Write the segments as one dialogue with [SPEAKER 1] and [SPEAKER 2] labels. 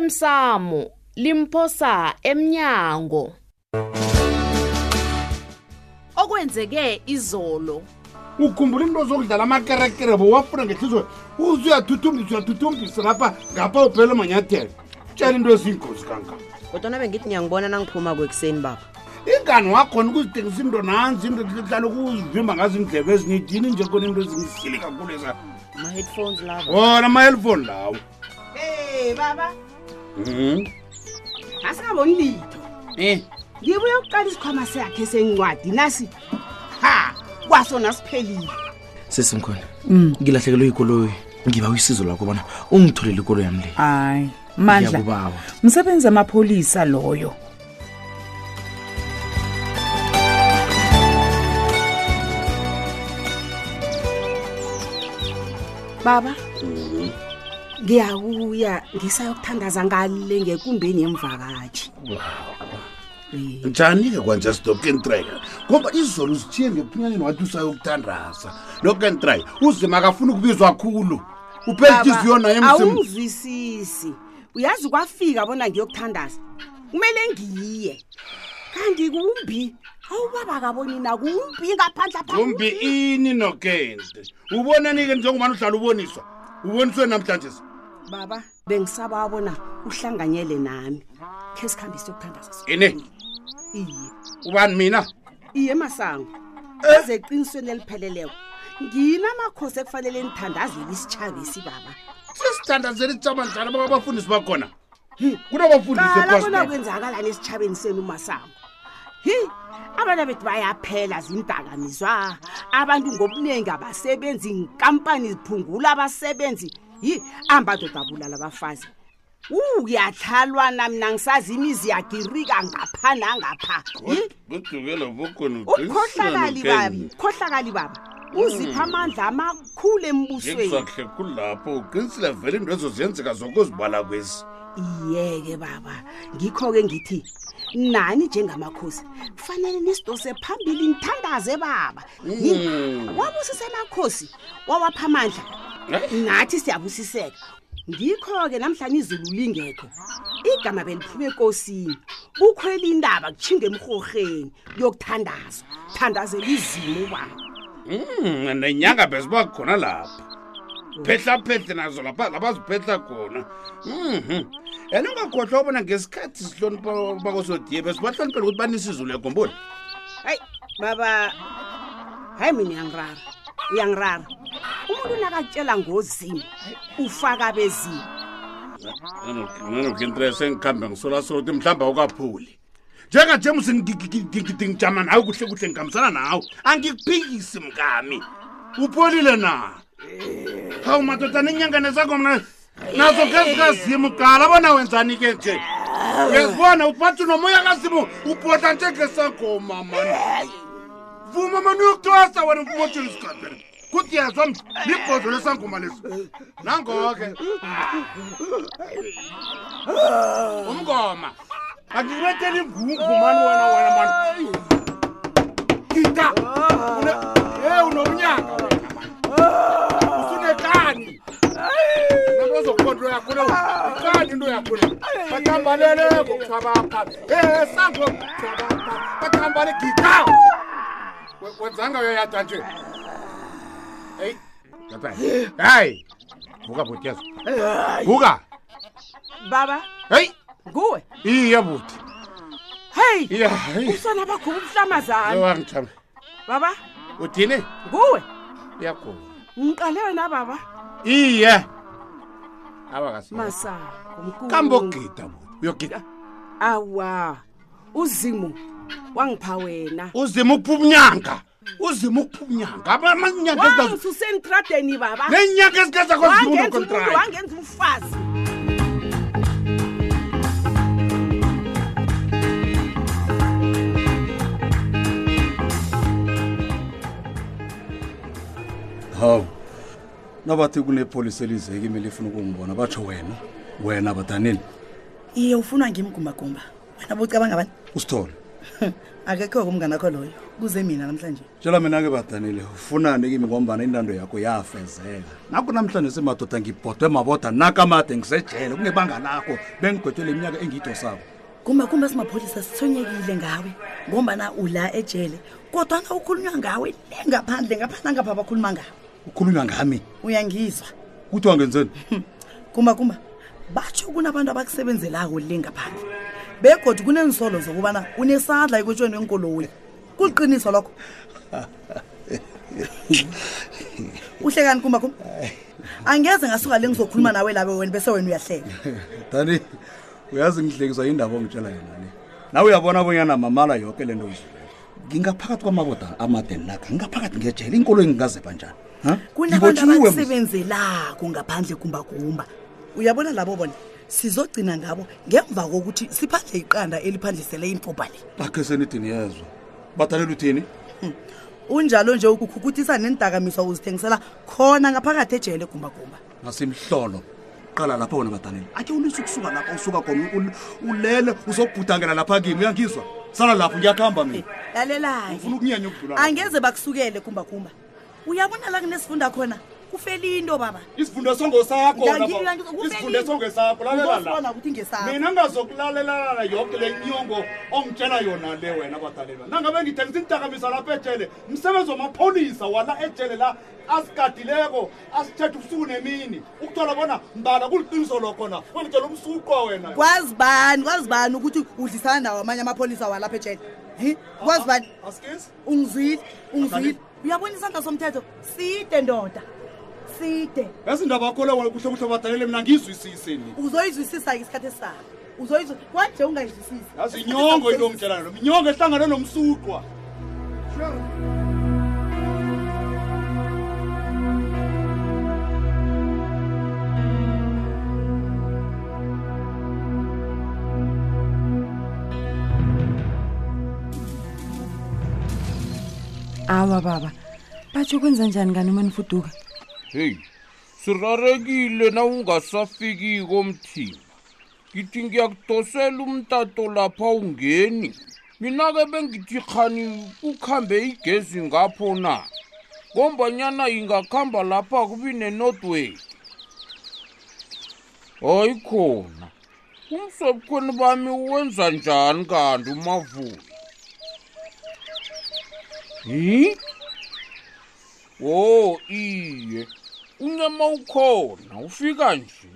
[SPEAKER 1] osemsamo limphosa emnyango okwenzeke izolo
[SPEAKER 2] ukhumbula into zokudlala amakerekerebo wafuna ngehliziyo uze uyathutumbisa uyathutumbisa lapha ngapha uphela manyathelo tshela into eziyingozi kangaka
[SPEAKER 3] kodwana bengithi ngiyangibona nangiphuma kwekuseni baba
[SPEAKER 2] ingani wakhona ukuzithengisa into nanzi into hlala ukuzivimba ngazo indlebe ezinye dini nje khona into ezingisili kakhulu eza
[SPEAKER 3] ama-headphones lava
[SPEAKER 2] wona ama-helfoni lawo
[SPEAKER 4] Eh baba,
[SPEAKER 2] Mhm.
[SPEAKER 4] asingaboni litho.
[SPEAKER 2] Eh,
[SPEAKER 4] Ngibuye ukuqala isikhwama sakhe sencwadi nasi. Ha, kwasona siphelile.
[SPEAKER 5] sesimkhona
[SPEAKER 6] Mm.
[SPEAKER 5] ngilahlekelwe ikoloyi ngiba usizo lakho bona ungitholele ikolo yami le
[SPEAKER 6] hayi mandla
[SPEAKER 5] ngiyakubawa
[SPEAKER 6] msebenzi amapholisa loyo
[SPEAKER 4] Baba, ngiyakuya ngisayokuthandaza ngale ngekumbeni yemvakashi.
[SPEAKER 2] njani-ke kwanje sidokentrike ngoba izolo uzithiye ngephunyanyeni wathi usayokuthandaza lokentrike uzima akafuni ukubizwa khulu uphela inhliziyo naye emzimbeni.
[SPEAKER 4] awuzwisisi. Uyazi kwafika bona ngiyokuthandaza. Kumele ngiye. Kanti kumbi. Awubaba kaboni na kumbi ngaphandla phansi.
[SPEAKER 2] kumbi ini nokente ubonani-ke njengobani uhlala uboniswa uboniswe namhlanje
[SPEAKER 4] Baba, bengisaba wabona uhlanganyele nami. Ke sikhambise ukuthandaza.
[SPEAKER 2] ini
[SPEAKER 4] Iye.
[SPEAKER 2] ubani mina
[SPEAKER 4] iye masango eze eqinisweni elipheleleko ngina amakhosi ekufanele nithandazele isitshaba baba
[SPEAKER 2] sisithandazeli sitshama njani baka abafundisi bakhona kunabafundisi
[SPEAKER 4] qala bona
[SPEAKER 2] epastor
[SPEAKER 4] kwenzakalani esitshabeni senu umasango hi abantu bethu bayaphela zindakamizwa abantu ngobuningi abasebenzi inkampani ziphungula abasebenzi yi ambadoda abulala abafazi u kuyathalwana mina ngisazi imizi yagirika ngapha nangapha yi
[SPEAKER 2] kudukela bokhona
[SPEAKER 4] ukhohlakali baba ukhohlakali baba uzipha amandla amakhulu embusweni
[SPEAKER 2] khulu lapho uqinisile vele into ezo ziyenzeka zokuzibala kwezi
[SPEAKER 4] iyeke baba ngikho-ke ngithi nani njengamakhosi kufanele nisidose phambili nithandaze baba Yini? wabusisa amakhosi wawapha amandla nathi siyabusiseka ngikho-ke namhlanje izulu lingekho igama beliphume ekosini kukhwela indaba kutshinga emhorheni yokuthandazwa thandazela izimo baba
[SPEAKER 2] Mm, nenyanga beziba khona lapha phehlaphehle nazo lapha lapha ziphehla khona Mhm. and ungakhohlwa ubona ngesikhathi sihlonipha bakosodiye besibahloniphela ukuthi banisizulu yagomboli
[SPEAKER 4] hayi baba hayi mina uyangirara uyangirara umuntu unakatshela ngozimo ufaka bezimo
[SPEAKER 2] sengihambe ngisolasola ukuthi mhlawumbe awukaphuli njengajemus ngijama nawe kuhle kuhle ngihambisana nawe angikuphikisi mngami upholile na hawu madoda nenyanga nesakho mna nazo ke zikazimu qala bona wenzani ke nje ngezibona ubathi nomoya kazimu ubhoda njengesagoma mani vuma mani uyokutosa wena mfumotsheni sikhaphela kuthi yazwa m libhodlo lesangoma lesi nangoke umngoma akibetheli mgungumani wena wena mani ita e unomnyaka wena mani usunekani nto zokuba yakule ikani into yakule bathambaleleko kuthabapha e sango kuthabapha bathambale gita We- wenzanga uyoyada nje eyi hayi vuka bhutiyazo vuka
[SPEAKER 4] baba
[SPEAKER 2] heyi
[SPEAKER 4] nguwe
[SPEAKER 2] iye buti
[SPEAKER 4] heyi
[SPEAKER 2] iya heyi
[SPEAKER 4] usona baguba ubuhlamazana
[SPEAKER 2] ewangithama
[SPEAKER 4] baba
[SPEAKER 2] uthini
[SPEAKER 4] nguwe
[SPEAKER 2] iyakhona
[SPEAKER 4] ngiqale wena baba
[SPEAKER 2] iye abakasi
[SPEAKER 4] masango
[SPEAKER 2] kambe
[SPEAKER 4] mkulu
[SPEAKER 2] ogida buti uyogida
[SPEAKER 4] awa uzimo wangipha wena
[SPEAKER 2] uzima ukuphuma unyanga uzima ukuphuma unyanga Aba- amanyanga ezikazo-
[SPEAKER 4] wangisusenitradeni baba
[SPEAKER 2] neenyanga ezike
[SPEAKER 4] wangenza umuntu
[SPEAKER 2] zakozimuntokontrakt
[SPEAKER 4] wangenza umfazi
[SPEAKER 7] hawu nabathi kunepolisi elize kimi lifuna ukungibona batsho wena wena badanile
[SPEAKER 8] iye ufuna ngimgumbagumba wena bucabanga bani
[SPEAKER 7] usithole
[SPEAKER 8] akekho-ke umngane akho loyo
[SPEAKER 6] kuze mina namhlanje
[SPEAKER 7] tshela mina-ke badanile ufunani kimi ngombana intando yakho yafezeka nakho namhlanje semadoda ngibhodwe maboda nakamade ngisejele kungebanga lakho bengigwetwele iminyaka engiyidosako
[SPEAKER 8] kumba kumba simapholisa sithonyekile ngawe ngombana ula ejele kodwana ukhulunywa ngawe le ngaphandle ngaphandle angapha bakhuluma ngawe
[SPEAKER 7] ukhulunywa ngami
[SPEAKER 8] uyangizwa
[SPEAKER 7] kuthi wangenzeni
[SPEAKER 8] kumba kumba batsho kunabantu abakusebenzelayo le ngaphandle begodi kunenisolo zokubana unesandla ekutshweni wenkoloyi kuliqiniso lokho uhlekani kumba kumba angeze ngasuka le ngizokhuluma nawe labe wena bese wena uyahleka
[SPEAKER 7] dani uyazi ngihlekiswa yindaba ongitshela yona le nawe uyabona bonyana mamala yoke le nto uzileko ngingaphakathi kwamaboda amade naka ngingaphakathi ngejele inkolo engingazepha njani Ha?
[SPEAKER 8] kunabantu
[SPEAKER 7] Ngibotjhiwe, musi.
[SPEAKER 8] abakusebenzelako ngaphandle kumbakumba uyabona labo bona sizogcina ngabo ngemva kokuthi siphandle iqanda eliphandlisele imfubha le
[SPEAKER 7] bakhe senidini yezwa badanile uthini
[SPEAKER 8] unjalo nje ukukhukuthisa nenidakamiswa uzithengisela khona ngaphakathi ejele gumbagumba
[SPEAKER 7] nasimhlolo qala lapha wona badanile akhe unise ukusuka lapha usuka khona ul- ulele uzobhudangela lapha kimi uyangizwa sala lapho ngiyakuhamba mina
[SPEAKER 8] lalelayo
[SPEAKER 7] ufuna ukunyanya ukudlula
[SPEAKER 8] angeze bakusukele gumbagumba uyabona la kunesifunda khona kufeli into baba
[SPEAKER 7] isivundo songo sakho
[SPEAKER 8] Ngiyangizwa,
[SPEAKER 7] lapha.
[SPEAKER 8] ngiyangizwa, kufeli.
[SPEAKER 7] isivundo songo sakho lalela
[SPEAKER 8] uzosibona
[SPEAKER 7] la
[SPEAKER 8] ukuthi ngesakho
[SPEAKER 7] mina ngazokulalela yonke le nyongo ongitshela yona le wena badalelwa nangabe ngithengisa indakamisa lapha ejele msebenzi wamapholisa wala ejele la asigadileko asithethe ubusuku nemini ukuthola bona mbala kuliqiniso lokhona ongitshela umsuqwa wena
[SPEAKER 8] kwazi bani kwazi bani ukuthi udlisana nawo amanye amapholisa walapha ejele hi kwazi bani
[SPEAKER 7] asikisi
[SPEAKER 8] ungizwile ungizwile
[SPEAKER 7] Akani-
[SPEAKER 8] uyabona isandla somthetho side ndoda side
[SPEAKER 7] ezindaba kho lewa kuhle kuhle badalele mina ngizwisise ni
[SPEAKER 8] uzoyizwisisa-ke isikhathi esisayo uzoyizwi kwanje ungayizwisisi
[SPEAKER 7] yazi inyongo into ongitshela yona inyongo ehlangane nomsuqwa
[SPEAKER 9] awa baba batsho kwenza njani kani uma nifuduka
[SPEAKER 10] heyi sirarekile na ungasafikiko mthimba ngithi ngiyakudosela umtato lapha ungeni mina-ke bengithi khani kukhambe igezi ngapho na ngombanyana ingakhamba lapha kubi ne-northway hayi khona umsobukhweni bami wenza njani kanti umavuya hi wo iye unyama ukhona ufika nje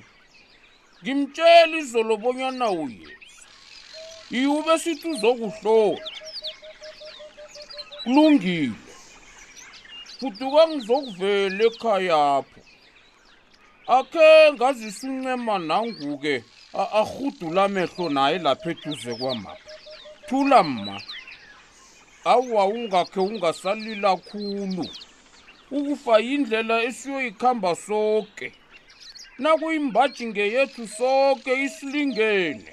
[SPEAKER 10] ngimtshela izolo bonyana uyeza iwube sithi uzokuhlola kulungile fuduka ngizokuvela ekhayapho akhe ngazisa uncema nanguke a- arhudula amehlo naye lapha eduze kwamapha thula mma awa ungakhe ungasalila khulu ukufa yindlela esiyoyikhamba soke nakuyimbathinge yethu soke isilingene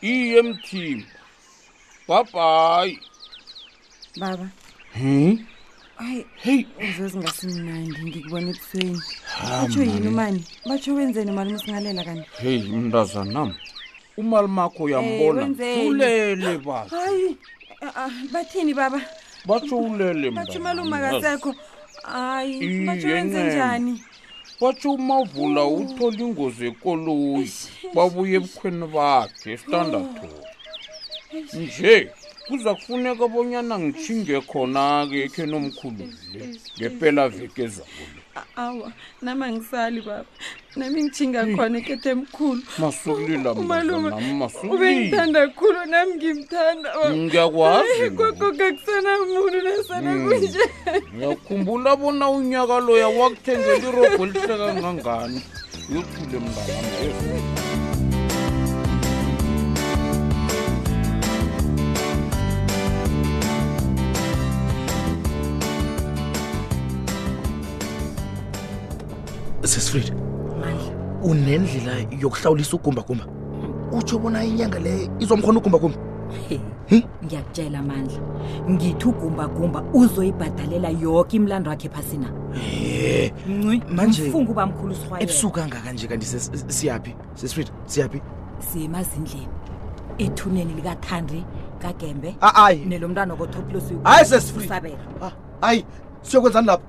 [SPEAKER 10] iye mthimba babhayi
[SPEAKER 9] baba
[SPEAKER 10] Hmm?
[SPEAKER 9] hayi
[SPEAKER 10] heyi
[SPEAKER 9] izo zingasimnandi ngikubona ebusweni batsho yini umani batsho wenzeni umalume singalela kani
[SPEAKER 10] heyi mntazanam umali makho
[SPEAKER 9] Eh,
[SPEAKER 10] uyambona
[SPEAKER 9] wenzeni?
[SPEAKER 10] ulele batsho
[SPEAKER 9] hayi ah, ah, bathini baba
[SPEAKER 10] batsho ulele
[SPEAKER 9] batsho
[SPEAKER 10] mntanami,
[SPEAKER 9] umalume
[SPEAKER 10] yazi.
[SPEAKER 9] akasekho hayi
[SPEAKER 10] Iye,
[SPEAKER 9] batsho wenze
[SPEAKER 10] ncema.
[SPEAKER 9] njani
[SPEAKER 10] batsho umavula uthola ingozi ekoloyi babuye ebukhweni bakhe esitandatoni nje kuza kufuneka bonyana ngitshinge khona-ke ekheni omkhulu le ngempela veke ezakule
[SPEAKER 9] A- awa nama ngisali baba nami ngijhinga khona ekete emkhulu
[SPEAKER 10] masukulila
[SPEAKER 9] umalume
[SPEAKER 10] mntanami, masukulila.
[SPEAKER 9] ubengithanda khulu nami ngimthanda baba.
[SPEAKER 10] ngiyakwazi
[SPEAKER 9] Hayi, gogo akusana muntu nasana
[SPEAKER 10] Mm.
[SPEAKER 9] kunje
[SPEAKER 10] ngiyakhumbula bona unyaka loya wakuthengela irogo elihleka ngangani yothule mnganami
[SPEAKER 5] sesifred unendlela yokuhlawulisa ugumbagumba utsho bona inyanga leyo izomkhona ugumbagumba
[SPEAKER 11] ngiyakutshela amandla ngithi ugumbagumba uzoyibhadalela yoke imlando wakhe phasina
[SPEAKER 5] ye Manje-
[SPEAKER 11] mfunga uba mkhulu usirhwayela
[SPEAKER 5] ebusuku angaka nje kanti ses- siyaphi sesifred siyaphi
[SPEAKER 11] semazindleni ethuneni likathandi kagembe
[SPEAKER 12] Ah, ayi.
[SPEAKER 11] nelo mntwana kotoplus
[SPEAKER 12] Hayi, sesifree. hayi siyokwenzani lapha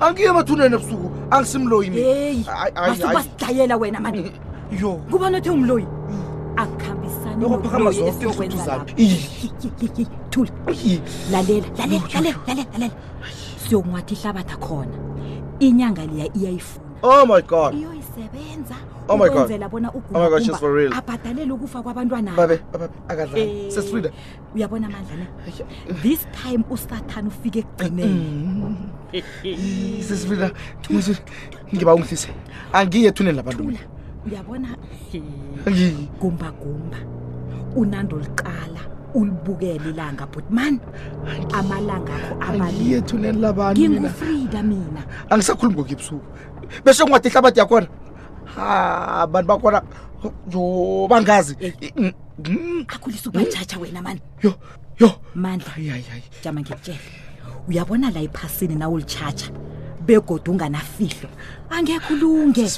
[SPEAKER 12] angiye emathuneni ebusuku angisimloyi
[SPEAKER 8] Eh.
[SPEAKER 11] masuba sidlayela wena mani
[SPEAKER 12] yo
[SPEAKER 11] kubona othe ungimloyi akuhambisani
[SPEAKER 12] Yokuphakama
[SPEAKER 11] nomloyi
[SPEAKER 12] Mm. zonke
[SPEAKER 11] esiyokwenza
[SPEAKER 12] izitho
[SPEAKER 11] lapha
[SPEAKER 12] zakhe.
[SPEAKER 11] thula lalela lalela lalela lalela lalela siyokunwathi ihlabatha khona inyanga liya iyayifuna
[SPEAKER 12] oh my god
[SPEAKER 11] iyoyisebenza
[SPEAKER 12] Oh my God.
[SPEAKER 11] ukwenzela bona
[SPEAKER 12] Oh my God, she's for real.
[SPEAKER 11] ugumbagumba abhadalele ukufa kwabantwana
[SPEAKER 12] babe babe akadlali
[SPEAKER 11] Eh,
[SPEAKER 12] sesifrida
[SPEAKER 11] uyabona amandla ne this time usathane ufike ekugcineni
[SPEAKER 12] sesifrida ngiba ungihlise angiye ethuneni labantu mina
[SPEAKER 11] uyabona
[SPEAKER 12] Ngi-
[SPEAKER 11] gumbagumba unando liqala ulibukele ilanga but man amalanga akho
[SPEAKER 12] angiye ethuneni labantu mina
[SPEAKER 11] ngingufrida mina
[SPEAKER 12] angisakhulumi ngokuya ebusuku bese kungathi ihlabathi yakhona ha abantu bakhona yo bangazi mm,
[SPEAKER 11] akhulisa ubajaja wena mani
[SPEAKER 12] yo yo
[SPEAKER 11] mandla jama ngikutshele uyabona la ephasini na ulitshatsha begoda unganafihlo angekho ulunge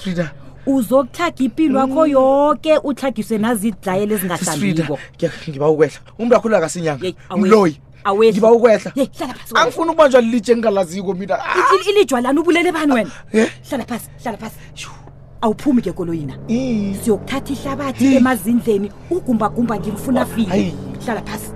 [SPEAKER 11] uzokuthaga impilo
[SPEAKER 12] Mm.
[SPEAKER 11] yakho yonke uthagiswe nazidlayela
[SPEAKER 12] sesifrida
[SPEAKER 11] ezingahlaniko
[SPEAKER 12] ngiba ukwehla umntu akho lakasinyanga
[SPEAKER 11] awehli.
[SPEAKER 12] mloyi ngiba ukwehla
[SPEAKER 11] hlala phasi wena.
[SPEAKER 12] angifuni ukubanjwa lilitshe engingalaziko mina
[SPEAKER 11] Il- il- ilijwa lani ubulele bani wena
[SPEAKER 12] Eh?
[SPEAKER 11] hlala phasi hlala phasi awuphumi ke koloyina siyokuthatha ihlabathi emazindleni ugumbagumba ngimfuna file hlala phasi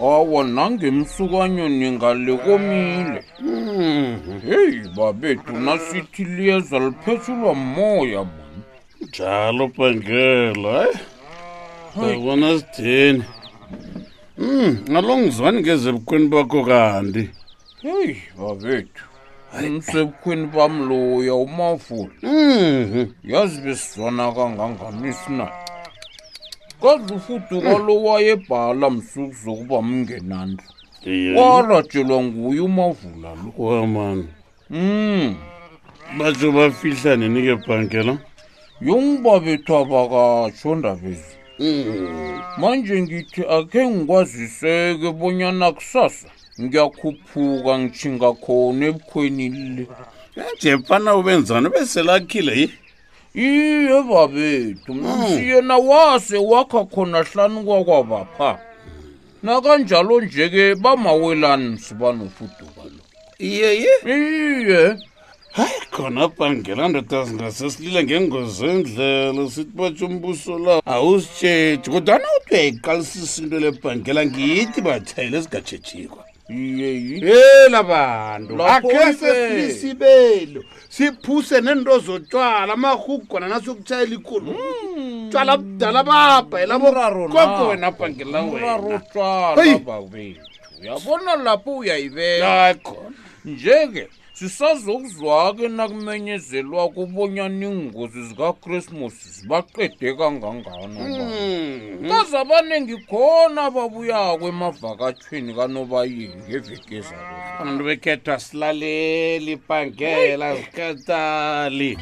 [SPEAKER 10] awa nangemsukanyo ningale komile heyi babethu nasithi liyeza liphetshulwa moya mani
[SPEAKER 13] njalo bhangela hayi ndabona sideni um ngalongizwani ngezebukhweni bakho kanti
[SPEAKER 10] heyi babethu umsebukhweni bam loya umafula
[SPEAKER 13] Hmm,
[SPEAKER 10] yazi besizwana kangangani isina kazi ufuduka lo wayebhala msuku zokuba mngenandla waratshelwa nguye umavula lo
[SPEAKER 13] wamani
[SPEAKER 10] um
[SPEAKER 13] batsho bafihla nini ke bhangela
[SPEAKER 10] yongibabethu abakatsho ndabezi manje ngithi akhe ngikwaziseke bonyana kusasa ngiyakhuphuka ngitshinga khona ebukhweni le
[SPEAKER 13] jefana ubenzani beselakhile yi
[SPEAKER 10] iye babethu msi yena wase wakha khona hlanu kwakwabapha nakanjalo nje-ke bamawelani msibanofuduka lo
[SPEAKER 13] iyeye
[SPEAKER 10] iye
[SPEAKER 13] hayi khona bhangela ndoda zingase silile ngengozi endlela sithi batsho umbuso la awusitshetshi kodwana uthi uyayiqalisisa into le bhangela ngiyithi batshayile ezingatshetshikwa yela bantu
[SPEAKER 2] Lapho
[SPEAKER 13] akhe
[SPEAKER 2] ibe.
[SPEAKER 13] sesilisibelo siphuse nento zotshwala amahugwana nasokutshayela ikolo tshwala budala babhayela bogogo wena bhangela wena
[SPEAKER 10] utshwala
[SPEAKER 13] Hey.
[SPEAKER 10] babethu uyabona lapho uyayibeka nje-ke sisazokuzwa-ke nakumenyezelwa kubonyana iingozi zikakrismasi zibaqede kangangana
[SPEAKER 13] Hmm.
[SPEAKER 10] kaze abaningi khona babuyako emavakatshweni kanobayeni ngeveke zabo
[SPEAKER 13] abantu bekhethwa silaleli bhangela zikatali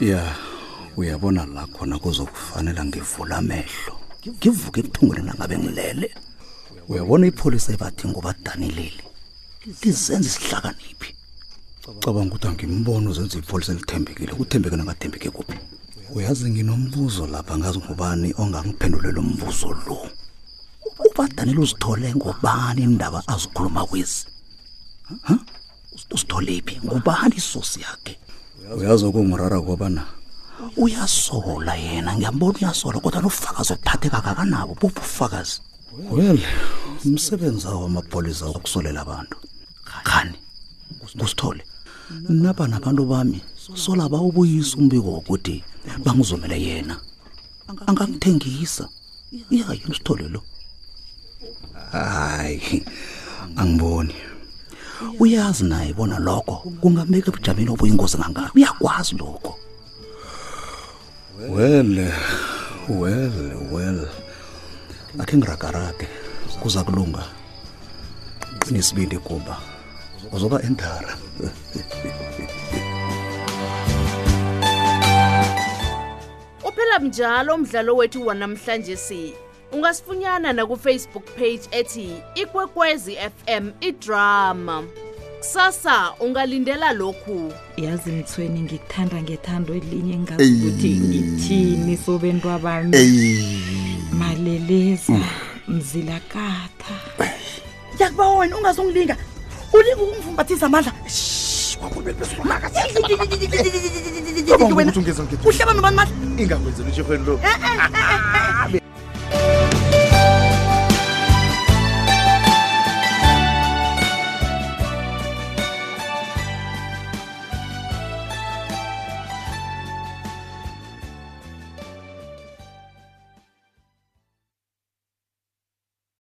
[SPEAKER 14] ya uyabona la khona kuzokufanela ngivula amehlo ngivuke ebuthungweni nangabe ngilele uyabona ipholisa ebathi ngobadanileli lizenza isihlakaniphi cabanga ukuthi angimbono uzenza ipholisa elithembekile kuthembeke nangathembeke kuphi uyazi nginombuzo lapha ngazi ngubani ongangiphendulela umbuzo lo ubadanile uzithole ngobani indaba azikhuluma kwezi Ha? uzithole phi ngubani isosi yakhe uyazi okungirara kobana uyasola yena ngiyambona uyasola kodwa nofakazi obuphatheka kakanabo buphi ubufakazi well umsebenzi awo wamapolisa ukusolela abantu khani kusithole naba nabantu bami sola bawubuyisa umbiko wokuthi bangizumele yena angangithengisa iya yena usithole lo hayi angiboni uyazi naye bona lokho kungambeka ebujameni obuyingozi ngangani uyakwazi lokho well well well akhe ngiragarage kuza kulunga qinisibindi kuba uzoba endara
[SPEAKER 1] uphela mnjalo umdlalo wethu wanamhlanje si ungasifunyana nakufacebook page ethi ikwekwezi fm idrama kusasa ungalindela lokhu
[SPEAKER 11] yazi mthweni ngikuthanda ngethando elinye engazi ukuthi ngithini sobentu abami maleleza
[SPEAKER 6] Hmm.
[SPEAKER 11] mzilakatha
[SPEAKER 8] yakuba wena ungazongilinga ulinga ukumvumbathisa amandla uhlebani ubani mandla
[SPEAKER 12] ingakwenzelwa ishefweni lo
[SPEAKER 8] Eh, eh, eh, eh,